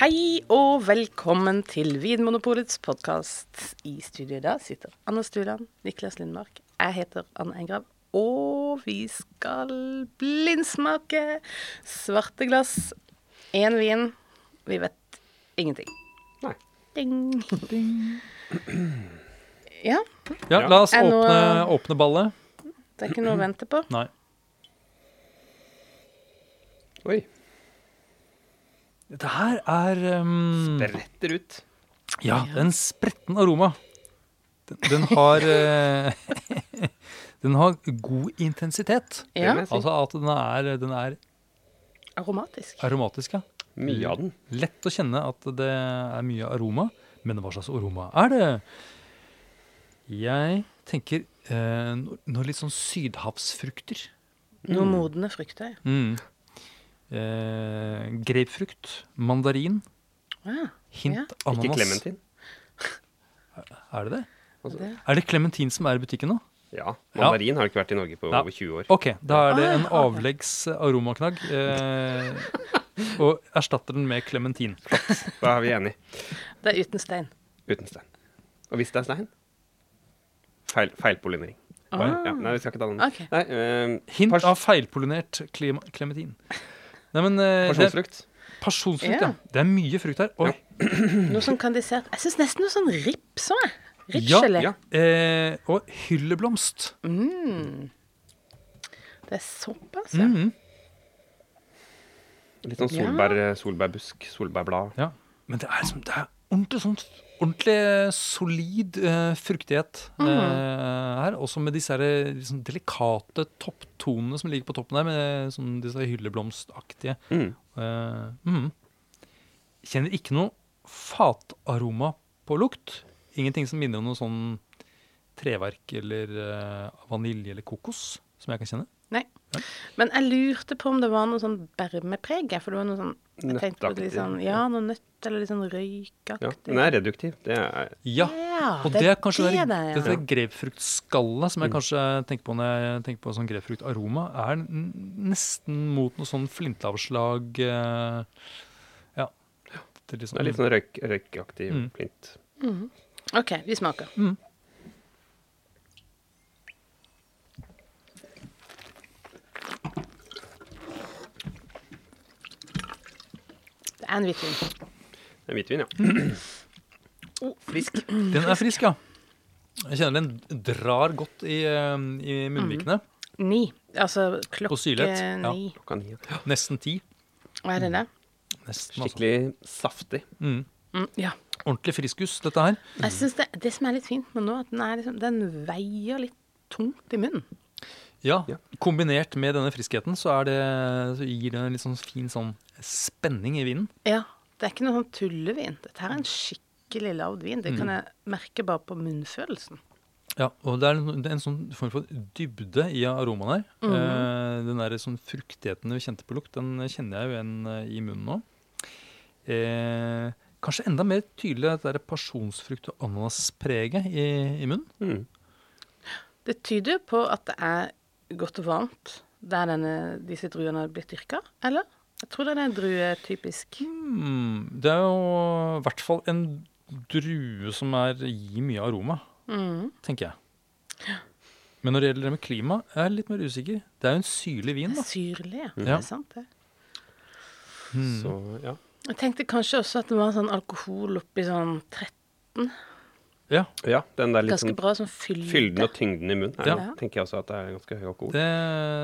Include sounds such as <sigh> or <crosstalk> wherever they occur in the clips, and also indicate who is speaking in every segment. Speaker 1: Hei og velkommen til Vinmonopolets podkast. I studio i dag sitter Anne Stuland, Niklas Lindmark, jeg heter Anne Engrav. Og vi skal blindsmake svarte glass. Én vin. Vi vet ingenting.
Speaker 2: Nei.
Speaker 1: Ding. Ja,
Speaker 3: Ja,
Speaker 2: Ja.
Speaker 3: la oss
Speaker 1: Er
Speaker 3: åpne,
Speaker 1: noe-
Speaker 3: åpne ballet.
Speaker 1: det er ikke noe å vente på.
Speaker 3: Nei.
Speaker 2: Oi.
Speaker 3: Dette her er um,
Speaker 2: Det retter ut.
Speaker 3: Ja, det er en spretten aroma. Den, den <laughs> har eh, Den har god intensitet.
Speaker 1: Ja,
Speaker 2: Det vil jeg si.
Speaker 3: Altså at den er, den er
Speaker 1: Aromatisk.
Speaker 3: aromatisk. Ja.
Speaker 2: Mye av den.
Speaker 3: Lett å kjenne at det er mye aroma. Men hva slags aroma er det? Jeg tenker eh, no- noe litt sånn sydhavsfrukter.
Speaker 2: Mm.
Speaker 1: Noe modne frukter.
Speaker 3: Mm. Eh, grapefrukt, mandarin,
Speaker 2: Mm.
Speaker 1: Ja.
Speaker 3: hint
Speaker 2: Ikke
Speaker 3: ananas.
Speaker 2: clementin.
Speaker 3: Er det det?
Speaker 2: Altså,
Speaker 1: Det-
Speaker 3: Er det clementin som er i butikken nå?
Speaker 2: ja. Mandarin har ikke vært i Norge på
Speaker 3: Ja.
Speaker 2: over 20 år.
Speaker 3: Ok, da er det
Speaker 1: Ah,
Speaker 3: en
Speaker 1: ok.
Speaker 3: avleggs aromaknagg.
Speaker 1: <laughs>
Speaker 3: Eh, og erstatter den med clementin.
Speaker 2: Da er vi enige.
Speaker 1: Det er uten stein.
Speaker 2: Uten stein. Og hvis det er stein feil, Feilpollinering. Bare- Ja, nei, vi skal ikke ta den.
Speaker 1: Ok.
Speaker 2: Nei, eh,
Speaker 3: Ah. Hint
Speaker 2: pers-
Speaker 3: av feilpollinert klima- clementin. Nei, men eh, det,
Speaker 2: Pasjonsfrukt.
Speaker 3: Pasjonsfrukt,
Speaker 1: Ja.
Speaker 3: ja. Det er mye frukt her. Oi.
Speaker 1: Noe som kandisert Jeg syns nesten noe sånn rips òg, jeg.
Speaker 3: Ja,
Speaker 1: Ripsgelé.
Speaker 2: ja.
Speaker 3: Eh, og hylleblomst.
Speaker 1: Det er såpass,
Speaker 3: Mm.
Speaker 1: ja.
Speaker 3: Mhm.
Speaker 2: Litt sånn
Speaker 1: Ja.
Speaker 2: solbær, solbærbusk, solbærblad.
Speaker 3: Ja. Men det er, liksom, det er ordentlig sånn Ordentlig eh, solid eh, fruktighet eh, her. Også med disse her, eh, liksom, delikate topptonene som ligger på toppen her, med sånn, disse hylleblomstaktige
Speaker 2: Mm.
Speaker 3: eh, mm. Kjenner ikke noe fataroma på lukt. Ingenting som minner om noe sånn treverk eller eh, vanilje eller kokos, som jeg kan kjenne.
Speaker 1: Nei. Men jeg lurte på om det var noe sånn bermepreg, jeg, for det var noe sånn jeg tenkte på det litt
Speaker 2: Nøtteaktig,
Speaker 1: sånn, Ja, noe nøtt eller litt sånn røykaktig.
Speaker 2: Ja, den er reduktiv. Det er
Speaker 3: Ja,
Speaker 1: Ja,
Speaker 3: og
Speaker 1: det
Speaker 3: det,
Speaker 1: er
Speaker 3: er kanskje det,
Speaker 1: det det er, ja.
Speaker 3: dette grepfruktskallet som jeg
Speaker 2: Mm.
Speaker 3: kanskje tenker på når jeg tenker på sånn grepfruktaroma, er n- nesten mot noe sånn flintavslag eh, Ja. Det er litt
Speaker 2: det er litt
Speaker 3: sånn,
Speaker 2: sånn røyk, røykaktig
Speaker 3: Mm.
Speaker 2: plint.
Speaker 1: OK, vi smaker. Det er en hvitvin.
Speaker 2: Det er
Speaker 3: <clears throat>
Speaker 2: Hvitvin, ja.
Speaker 3: Oh,
Speaker 1: frisk.
Speaker 2: sånn-
Speaker 3: den er frisk, ja. Jeg kjenner den drar godt i, eh, i munnvikene.
Speaker 2: Mm.
Speaker 1: Ni. Altså
Speaker 3: På
Speaker 1: klokke
Speaker 3: syrlighet, ja.
Speaker 1: ni.
Speaker 2: Klokka ni. ja.
Speaker 3: Nesten ti.
Speaker 1: Hva er det der?
Speaker 3: Nesten, altså.
Speaker 2: Skikkelig saftig.
Speaker 3: Mm.
Speaker 1: Mm, ja.
Speaker 3: Ordentlig friskus, dette her.
Speaker 1: Jeg synes det, det som er litt fint med nå, at den, er liksom, den veier litt tungt i munnen.
Speaker 3: Ja,
Speaker 2: Ja.
Speaker 3: Kombinert med denne friskheten så, er det, så gir det en litt sånn fin sånn spenning i vinen.
Speaker 1: Ja. Det er ikke noe sånn tullevin. Dette her er en skikkelig loud vin. Det kan jeg merke bare på munnfølelsen.
Speaker 3: Ja, og det er en, det er en sånn form for dybde i aromaen her. Eh, den der sånn fruktigheten vi kjente på lukt, den kjenner jeg jo igjen eh, i munnen nå. Eh, kanskje enda mer tydelig det der pasjonsfrukt- og ananaspreget i, i munnen.
Speaker 2: Mm.
Speaker 1: Det tyder jo på at det er godt og varmt der denne, disse druene har blitt dyrka, eller? Jeg tror den er druetypisk.
Speaker 3: Hmm, det er jo i hvert fall en drue som er, gir mye aroma,
Speaker 1: Mm.
Speaker 3: tenker jeg. Men når det gjelder det med klima, er jeg litt mer usikker. Det er jo en syrlig vin,
Speaker 1: Det
Speaker 3: da.
Speaker 1: er syrlig, ja. Det
Speaker 3: Ja.
Speaker 1: er sant, det.
Speaker 3: Mm.
Speaker 2: Så ja.
Speaker 1: Jeg tenkte kanskje også at det var sånn alkohol oppi sånn 13.
Speaker 3: Ja,
Speaker 2: ja. Den der litt
Speaker 1: Ganske
Speaker 2: sånn
Speaker 1: bra sånn fylde.
Speaker 2: Fylden og tyngden i munnen. Er,
Speaker 3: Ja.
Speaker 2: det, Tenker jeg også at det er ganske høy alkohol.
Speaker 3: Det,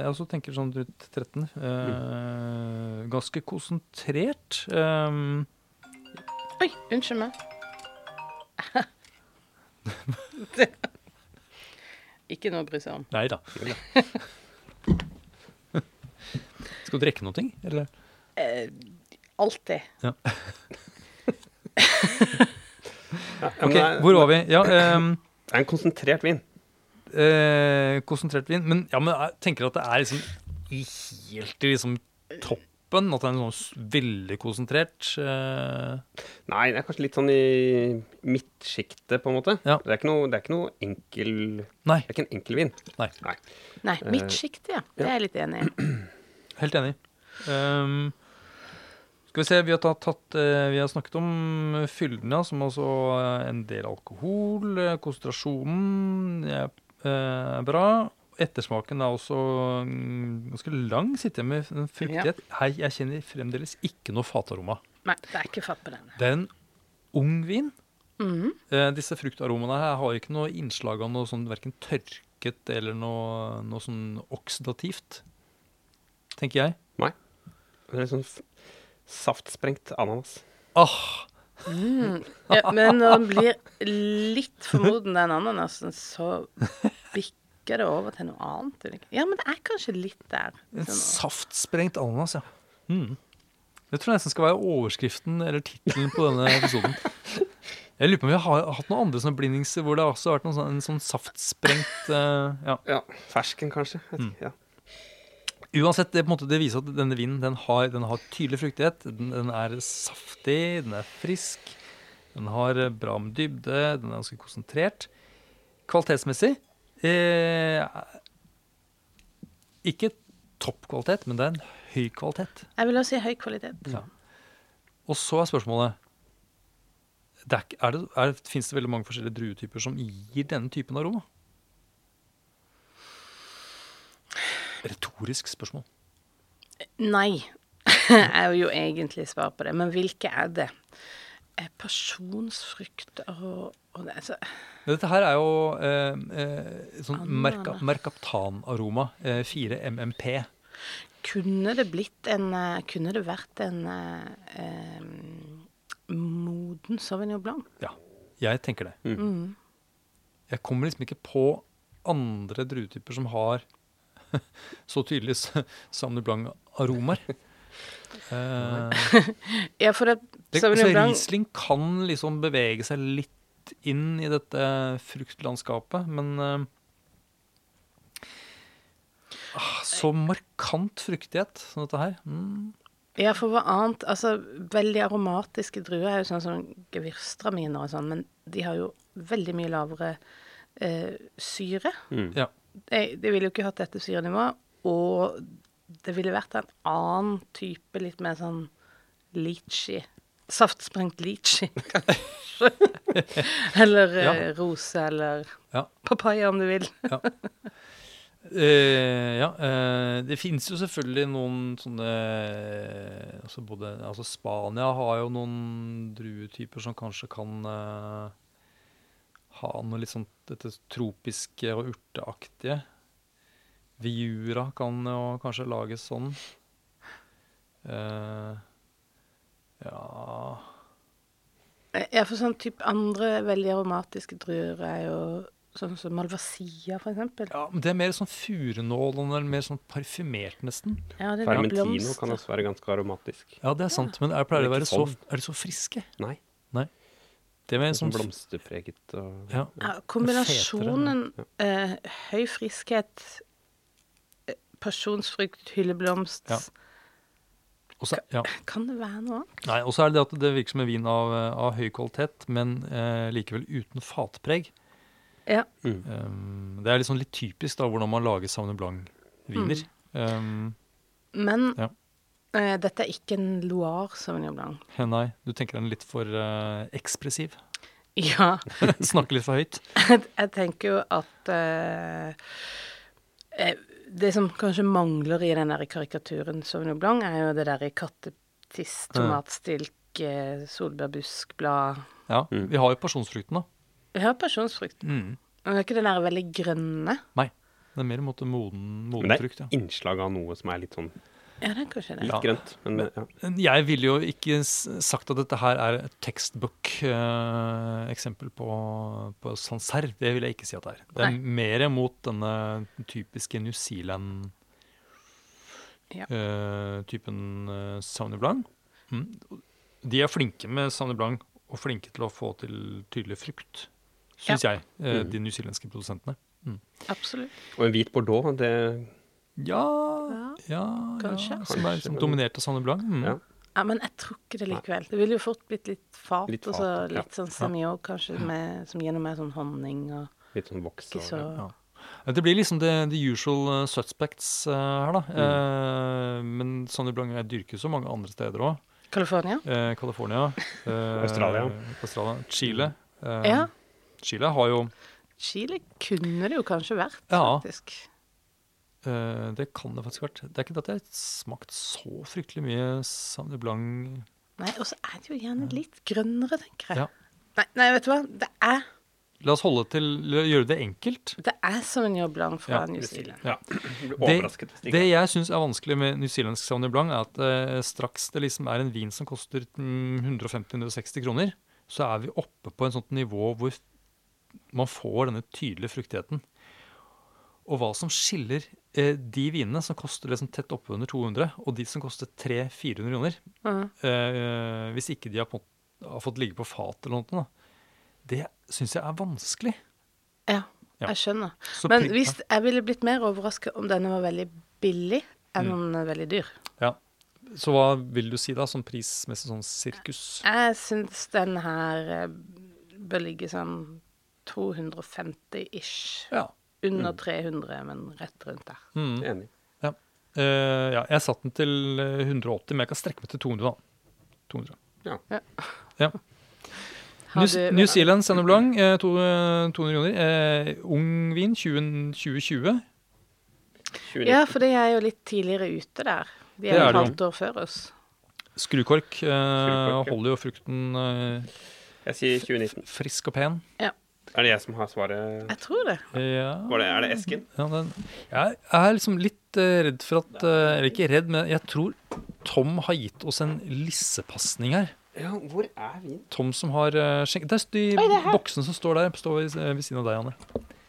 Speaker 3: jeg også tenker sånn rundt 13. Eh, ganske konsentrert. ehm,
Speaker 1: Oi, unnskyld meg. <laughs> Ikke noe å bry seg om.
Speaker 3: nei da. <laughs> Skal du drikke noe, eller?
Speaker 1: Alltid.
Speaker 2: Ja, men
Speaker 3: Ok,
Speaker 2: det, er,
Speaker 3: hvor var vi? Ja, ehm,
Speaker 2: det er en konsentrert vin.
Speaker 3: eh, konsentrert vin. Men, ja, men jeg tenker at det er liksom i helt i liksom toppen. At det er en sånn s- veldig konsentrert eh,
Speaker 2: Nei, det er kanskje litt sånn i midtsjiktet, på en måte.
Speaker 3: Ja.
Speaker 2: Det, er ikke noe, det er ikke noe enkel Det
Speaker 3: Nei,
Speaker 2: er ikke en enkel vin.
Speaker 3: nei.
Speaker 2: Nei.
Speaker 1: Nei, midtsjiktet, ja. Det er jeg litt enig i.
Speaker 3: Helt enig. Ehm, Skal vi se, vi har, tatt, tatt, eh, vi har snakket om eh, fylden, ja, som altså eh, en del alkohol. eh, Konsentrasjonen er eh, er bra. Ettersmaken er også mm, ganske lang, sitter jeg med en fruktighet. Hei, jeg kjenner fremdeles ikke noe fataroma.
Speaker 1: Nei, det er ikke fatt på denne.
Speaker 3: Det er en ung vin.
Speaker 1: Mhm.
Speaker 3: Eh, disse fruktaromaene her har ikke noe innslag av noe sånn verken tørket eller noe, noe sånn oksidativt, tenker jeg.
Speaker 2: Nei. Det er litt sånn f- saftsprengt ananas.
Speaker 3: Ah,
Speaker 1: Ja, men når den blir litt for moden, den ananasen, altså, så bikker det over til noe annet. eller ikke? Ja, men det er kanskje litt der.
Speaker 3: en
Speaker 1: Sånn,
Speaker 3: saftsprengt ananas, ja. Mm. Det tror jeg nesten skal være overskriften eller tittelen på denne episoden. Jeg lurer på om vi har hatt noen andre sånne blindingser hvor det også har vært noen sånn, en sånn saftsprengt eh, ja.
Speaker 2: Ja, Fersken, kanskje. Jeg
Speaker 3: Mm.
Speaker 2: vet ikke, ja.
Speaker 3: Uansett, det, på en måte, det viser at denne vinen den har, den har tydelig fruktighet. Den, den er saftig, den er frisk, den har eh, bra med dybde, den er ganske konsentrert. Kvalitetsmessig eh, Ikke toppkvalitet, men det er en høy kvalitet.
Speaker 1: jeg vil også si høy kvalitet.
Speaker 3: Ja. Og så er spørsmålet det er, ikke- er det, er, Fins det veldig mange forskjellige druetyper som gir denne typen aroma? Retorisk spørsmål.
Speaker 1: Nei, <laughs> er jo egentlig svar på det. Men hvilke er det? Eh, Pasjonsfrukt og, og det, altså,
Speaker 3: Men Dette her er jo eh, eh, sånn merka,
Speaker 1: Ananas.
Speaker 3: merkaptanaroma. Eh, 4MMP.
Speaker 1: Kunne det blitt en eh, Kunne det vært en eh, eh, moden Sauvignon Blanc?
Speaker 3: Ja, jeg tenker det. Jeg kommer liksom ikke på andre druetyper som har <laughs> så tydelig Sauvignon Blanc-aromaer. Eh,
Speaker 1: Ja, for det,
Speaker 3: det- altså, så
Speaker 1: Sauvignon Blanc
Speaker 3: Riesling kan liksom bevege seg litt inn i dette fruktlandskapet, men eh, ah, Så markant fruktighet som dette her. Mm.
Speaker 1: Ja, for hva annet Altså, veldig aromatiske druer er jo sånn som gevirstraminer og sånn, men de har jo veldig mye lavere eh, syre.
Speaker 3: Ja.
Speaker 1: De, de ville jo ikke hatt dette syrenivået, og det ville vært en annen type, litt mer sånn lychee. Saftsprengt
Speaker 3: <laughs>
Speaker 1: lychee, kanskje. eller eh,
Speaker 3: Ja.
Speaker 1: rose, eller
Speaker 3: Ja.
Speaker 1: papaya, om du vil.
Speaker 3: Eh, ja eh, det finnes jo selvfølgelig noen sånne eh, altså både, altså Spania har jo noen druetyper som kanskje kan eh, ha noe litt sånn dette tropiske og urteaktige. Viura kan jo kanskje lages sånn. Eh, ja
Speaker 1: Eh, Ja, for sånn type andre veldig aromatiske druer er jo sånn som malvasia, for eksempel.
Speaker 3: Ja, men Det er mer sånn furunål, og den er mer sånn parfymert, nesten.
Speaker 1: Ja, det er
Speaker 2: Fermentino
Speaker 1: blomster.
Speaker 2: kan også være ganske aromatisk.
Speaker 3: Ja, det er sant, men er, pleier det å
Speaker 2: Men
Speaker 3: være
Speaker 2: ikke
Speaker 3: så,
Speaker 2: sånn.
Speaker 3: er de så friske?
Speaker 2: Nei.
Speaker 3: Det er mer
Speaker 2: Sånn
Speaker 3: sånn
Speaker 2: blomsterpreget og
Speaker 3: Ja.
Speaker 1: Ja, kombinasjonen eh, høy friskhet, eh, pasjonsfrukt, hylleblomst
Speaker 3: Ja. Og så ja.
Speaker 1: Kan det være noe annet?
Speaker 3: Nei, og så er det det at det virker som en vin av, eh, av høy kvalitet, men eh, likevel uten fatpreg.
Speaker 1: Ja.
Speaker 3: Um, det er liksom litt typisk da, hvordan man lager Sauvignon Blanc-viner. Um,
Speaker 1: Men
Speaker 3: Ja.
Speaker 1: eh, dette er ikke en Loire Sauvignon Blanc. <laughs>
Speaker 3: he, nei, du tenker den er litt for eh, ekspressiv. <laughs>
Speaker 1: Ja,
Speaker 3: Snakker litt for høyt.
Speaker 1: jeg, jeg tenker jo at eh, eh, Det som kanskje mangler i den der karikaturen Sauvignon Blanc, er jo det derre kattetiss, tomatstilk, eh, solbærbuskblad
Speaker 3: Ja, Vi har jo pasjonsfrukten, da.
Speaker 1: Vi har pasjonsfrukt.
Speaker 3: Mm.
Speaker 1: Men det er ikke den der veldig grønne.
Speaker 3: Nei. Det er mer en måte moden,
Speaker 2: Men
Speaker 3: moden
Speaker 2: det er
Speaker 3: frukt. Ja.
Speaker 2: innslag av noe som er litt sånn
Speaker 1: Ja, det er kanskje det.
Speaker 2: litt
Speaker 3: Ja.
Speaker 2: grønt. Men med- ja.
Speaker 3: Jeg ville jo ikke s- sagt at dette her er et textbook-eksempel på, på Sancerre. Det vil jeg ikke si at det er. Det er
Speaker 1: Nei.
Speaker 3: mer mot denne typiske New Zealand-typen
Speaker 1: Ja.
Speaker 3: eh, Sauvignon Blanc. Mm. De er flinke med Sauvignon Blanc og flinke til å få til tydelig frukt, syns jeg, eh,
Speaker 2: Mm.
Speaker 3: de newzealandske produsentene.
Speaker 1: Absolutt.
Speaker 2: Og en hvit bordeaux, det
Speaker 3: Ja, ja,
Speaker 1: kanskje.
Speaker 3: Ja, som er
Speaker 2: Kanskje,
Speaker 3: liksom
Speaker 2: men-
Speaker 3: dominert av Sauvignon Blanc. Mm.
Speaker 2: Ja.
Speaker 1: Ja, men jeg tror ikke det likevel. Det ville jo fort blitt litt fat,
Speaker 2: Litt
Speaker 1: og så
Speaker 2: fat, ja.
Speaker 1: litt sånn semiog, kanskje, med, som gir noe mer sånn honning og
Speaker 2: Litt sånn voks
Speaker 1: ikke
Speaker 2: og
Speaker 1: så
Speaker 2: ja.
Speaker 3: Ja. Det blir liksom the, the usual eh, suspects eh, her, da. Eh, men Sonny Blanc jeg dyrker så mange andre steder òg.
Speaker 1: California?
Speaker 3: eh, California, eh,
Speaker 2: Australia.
Speaker 3: Australia, Chile. Eh,
Speaker 1: Ja.
Speaker 3: Chile har jo
Speaker 1: Chile kunne det jo kanskje vært,
Speaker 3: Ja.
Speaker 1: faktisk.
Speaker 3: eh, Det kan det faktisk ha vært. Det er ikke det at jeg har smakt så fryktelig mye Sauvignon Blanc
Speaker 1: Nei, og så er det jo gjerne litt grønnere, tenker jeg.
Speaker 3: Ja.
Speaker 1: Nei, nei, vet du hva? Det er,
Speaker 3: La oss holde til, gjøre det enkelt.
Speaker 1: det er Sauvignon Blanc fra
Speaker 3: Ja,
Speaker 1: New Zealand.
Speaker 3: Ja.
Speaker 2: Jeg ble
Speaker 3: Det,
Speaker 2: overrasket.
Speaker 3: det jeg syns er vanskelig med newzealandsk Sauvignon Blanc, er at eh, straks det liksom er en vin som koster mm, 150-160 kroner, så er vi oppe på en sånt nivå hvor man får denne tydelige fruktigheten. Og hva som skiller eh, de vinene som koster liksom tett oppunder 200, og de som koster 300-400 kroner,
Speaker 1: Mhm.
Speaker 3: eh, hvis ikke de har, på, har fått ligge på fatet eller noe, da, det syns jeg er vanskelig.
Speaker 1: Ja,
Speaker 3: Ja.
Speaker 1: jeg skjønner.
Speaker 3: Så
Speaker 1: Men
Speaker 3: pri-
Speaker 1: hvis jeg ville blitt mer overrasket om denne var veldig billig enn
Speaker 3: Mm.
Speaker 1: om den er veldig dyr.
Speaker 3: Ja. Så hva vil du si da, sånn prismessig sånn sirkus?
Speaker 1: Jeg syns den her eh, bør ligge sånn 250-ish.
Speaker 3: Ja.
Speaker 1: Under 300, men rett rundt der.
Speaker 3: Mm.
Speaker 2: Enig.
Speaker 3: ja. Eh, ja. Jeg satte den til eh, 180, men jeg kan strekke meg til 200, da. 200.
Speaker 2: Ja.
Speaker 3: Ja.
Speaker 1: Har
Speaker 3: New,
Speaker 1: du-
Speaker 3: New Zealand Sauvignon Blanc, eh, to, eh, 200 kroner. Eh, ung vin, 20, 2020.
Speaker 2: 29.
Speaker 1: Ja, for de er jo litt tidligere ute der. De
Speaker 3: Det
Speaker 1: er jo
Speaker 3: er
Speaker 1: et
Speaker 3: de.
Speaker 1: halvt år før oss.
Speaker 3: Skrukork.
Speaker 2: Skrukork,
Speaker 3: Eh,
Speaker 2: ja.
Speaker 3: Holder jo frukten eh,
Speaker 2: Jeg sier 2019.
Speaker 3: frisk og pen.
Speaker 2: Er det jeg som har svaret?
Speaker 1: Jeg tror det.
Speaker 3: Ja.
Speaker 2: Var det, er det Esken?
Speaker 3: Ja, den, jeg er liksom litt eh, redd for at eh, Eller ikke redd, men jeg tror Tom har gitt oss en lissepasning her.
Speaker 2: Ja, hvor er vin?
Speaker 3: Tom som har eh, skjenk... Det er de boksene som står der, står ved, eh, ved siden av deg, Anne.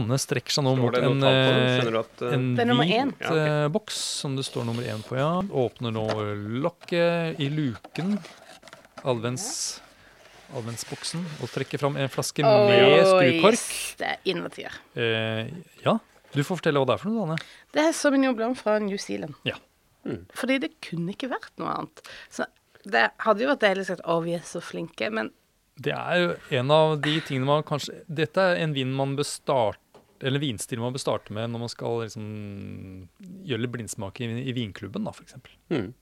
Speaker 3: Anne strekker seg nå
Speaker 2: Står
Speaker 3: mot
Speaker 2: det noe
Speaker 3: en,
Speaker 2: tall på den?
Speaker 3: eh,
Speaker 2: Skjønner du at eh,
Speaker 3: en
Speaker 1: Det er nummer én.
Speaker 3: hvit eh, boks som det står nummer én på, ja. Åpner nå lokket i luken. Advents... Adventsboksen. Og trekker fram en flaske med skrukork.
Speaker 1: Det er innertier.
Speaker 3: Eh, ja. Du får fortelle hva det er for noe, Anne.
Speaker 1: Det er Sauvignon Blanc fra New Zealand.
Speaker 3: Ja.
Speaker 1: Fordi det kunne ikke vært noe annet. Så det hadde jo vært deilig sagt å, vi er så flinke, men
Speaker 3: Det er jo en av de tingene man kanskje Dette er en vin man bør starte eller en vinstil man bør starte med når man skal liksom gjøre litt blindsmak i, i vinklubben, da, f.eks.
Speaker 2: Mm.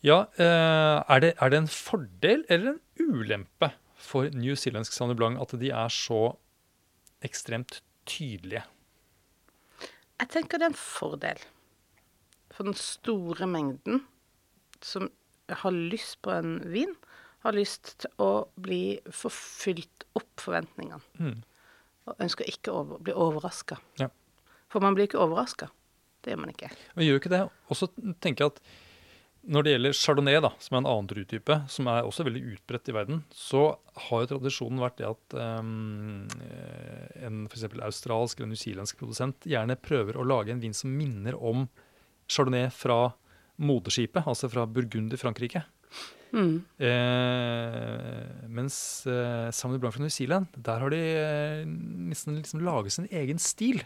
Speaker 3: Ja, eh, er det, er det en fordel eller en ulempe for newzealandsk Sauvignon Blanc at de er så ekstremt tydelige?
Speaker 1: jeg tenker det er en fordel. For den store mengden som har lyst på en vin, har lyst til å bli forfylt opp forventningene.
Speaker 3: Mm.
Speaker 1: Og ønsker ikke å over, bli overraska.
Speaker 3: Ja.
Speaker 1: For man blir ikke overraska. Det gjør man ikke.
Speaker 3: Men gjør jo ikke det. Og så tenker jeg at når det gjelder chardonnay, da, som er en annen druetype, som er også veldig utbredt i verden, så har jo tradisjonen vært det at um, en f.eks. australsk eller newzealandsk produsent gjerne prøver å lage en vin som minner om chardonnay fra moderskipet, altså fra Burgund i Frankrike.
Speaker 1: Mm.
Speaker 3: Eh, mens eh, Samuel Blanc fra New Zealand, der har de eh, nesten liksom laget sin egen stil,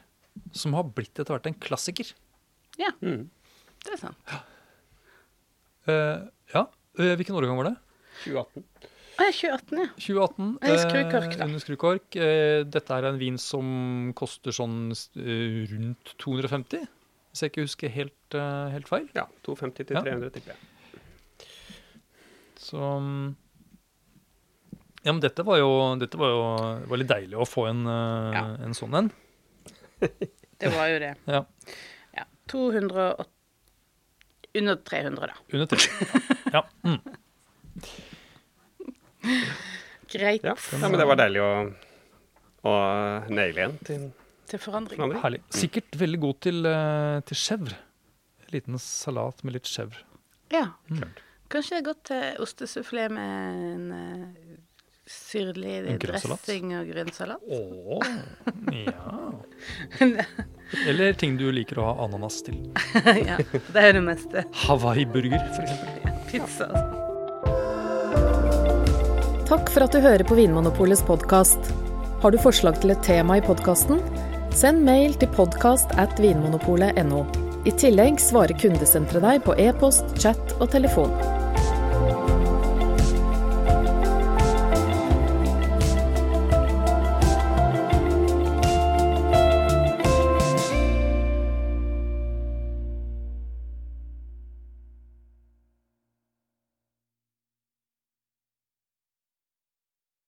Speaker 3: som har blitt etter hvert en klassiker.
Speaker 1: Ja,
Speaker 2: Mm.
Speaker 1: det er sant.
Speaker 3: Eh, ja. Eh, hvilken årgang var det?
Speaker 2: 2018.
Speaker 1: Å, jeg er 2018, ja.
Speaker 3: 2018.
Speaker 1: Nei, skrukork, da.
Speaker 3: under skrukork. Eh, dette her er en vin som koster sånn eh, rundt 250, hvis jeg ikke husker helt, eh, helt feil.
Speaker 2: Ja. 250 til
Speaker 3: Ja.
Speaker 2: 300, tipper jeg.
Speaker 3: Så mm, Ja, men dette var jo, dette var jo det var litt deilig å få en, eh,
Speaker 1: Ja.
Speaker 3: en sånn en.
Speaker 1: Det var jo
Speaker 2: <laughs>
Speaker 1: det.
Speaker 3: Ja.
Speaker 1: Ja. 200 og Under 300, da.
Speaker 3: Under tre. Ja. Mm.
Speaker 1: Greit
Speaker 2: Ja. ja, men det var deilig å, å naile en til
Speaker 1: til forandring.
Speaker 2: forandring.
Speaker 3: Herlig. Sikkert veldig god til, eh, til chèvre. En Liten salat med litt chèvre.
Speaker 1: Ja.
Speaker 2: Mm.
Speaker 1: Kanskje det er godt til ostesufflé med en eh, syrlig
Speaker 3: En grønnsalat?
Speaker 1: dressing og grønnsalat.
Speaker 3: Åh, ja. Eller ting du liker å ha ananas til.
Speaker 1: ja, det er jo det meste.
Speaker 3: Hawaii-burger, f.eks.
Speaker 1: Pizza. altså.
Speaker 4: Takk for at du hører på Vinmonopolets podkast. Har du forslag til et tema i podkasten? Send mail til podkast at vinmonopolet.no. I tillegg svarer kundesenteret deg på e-post, chat og telefon.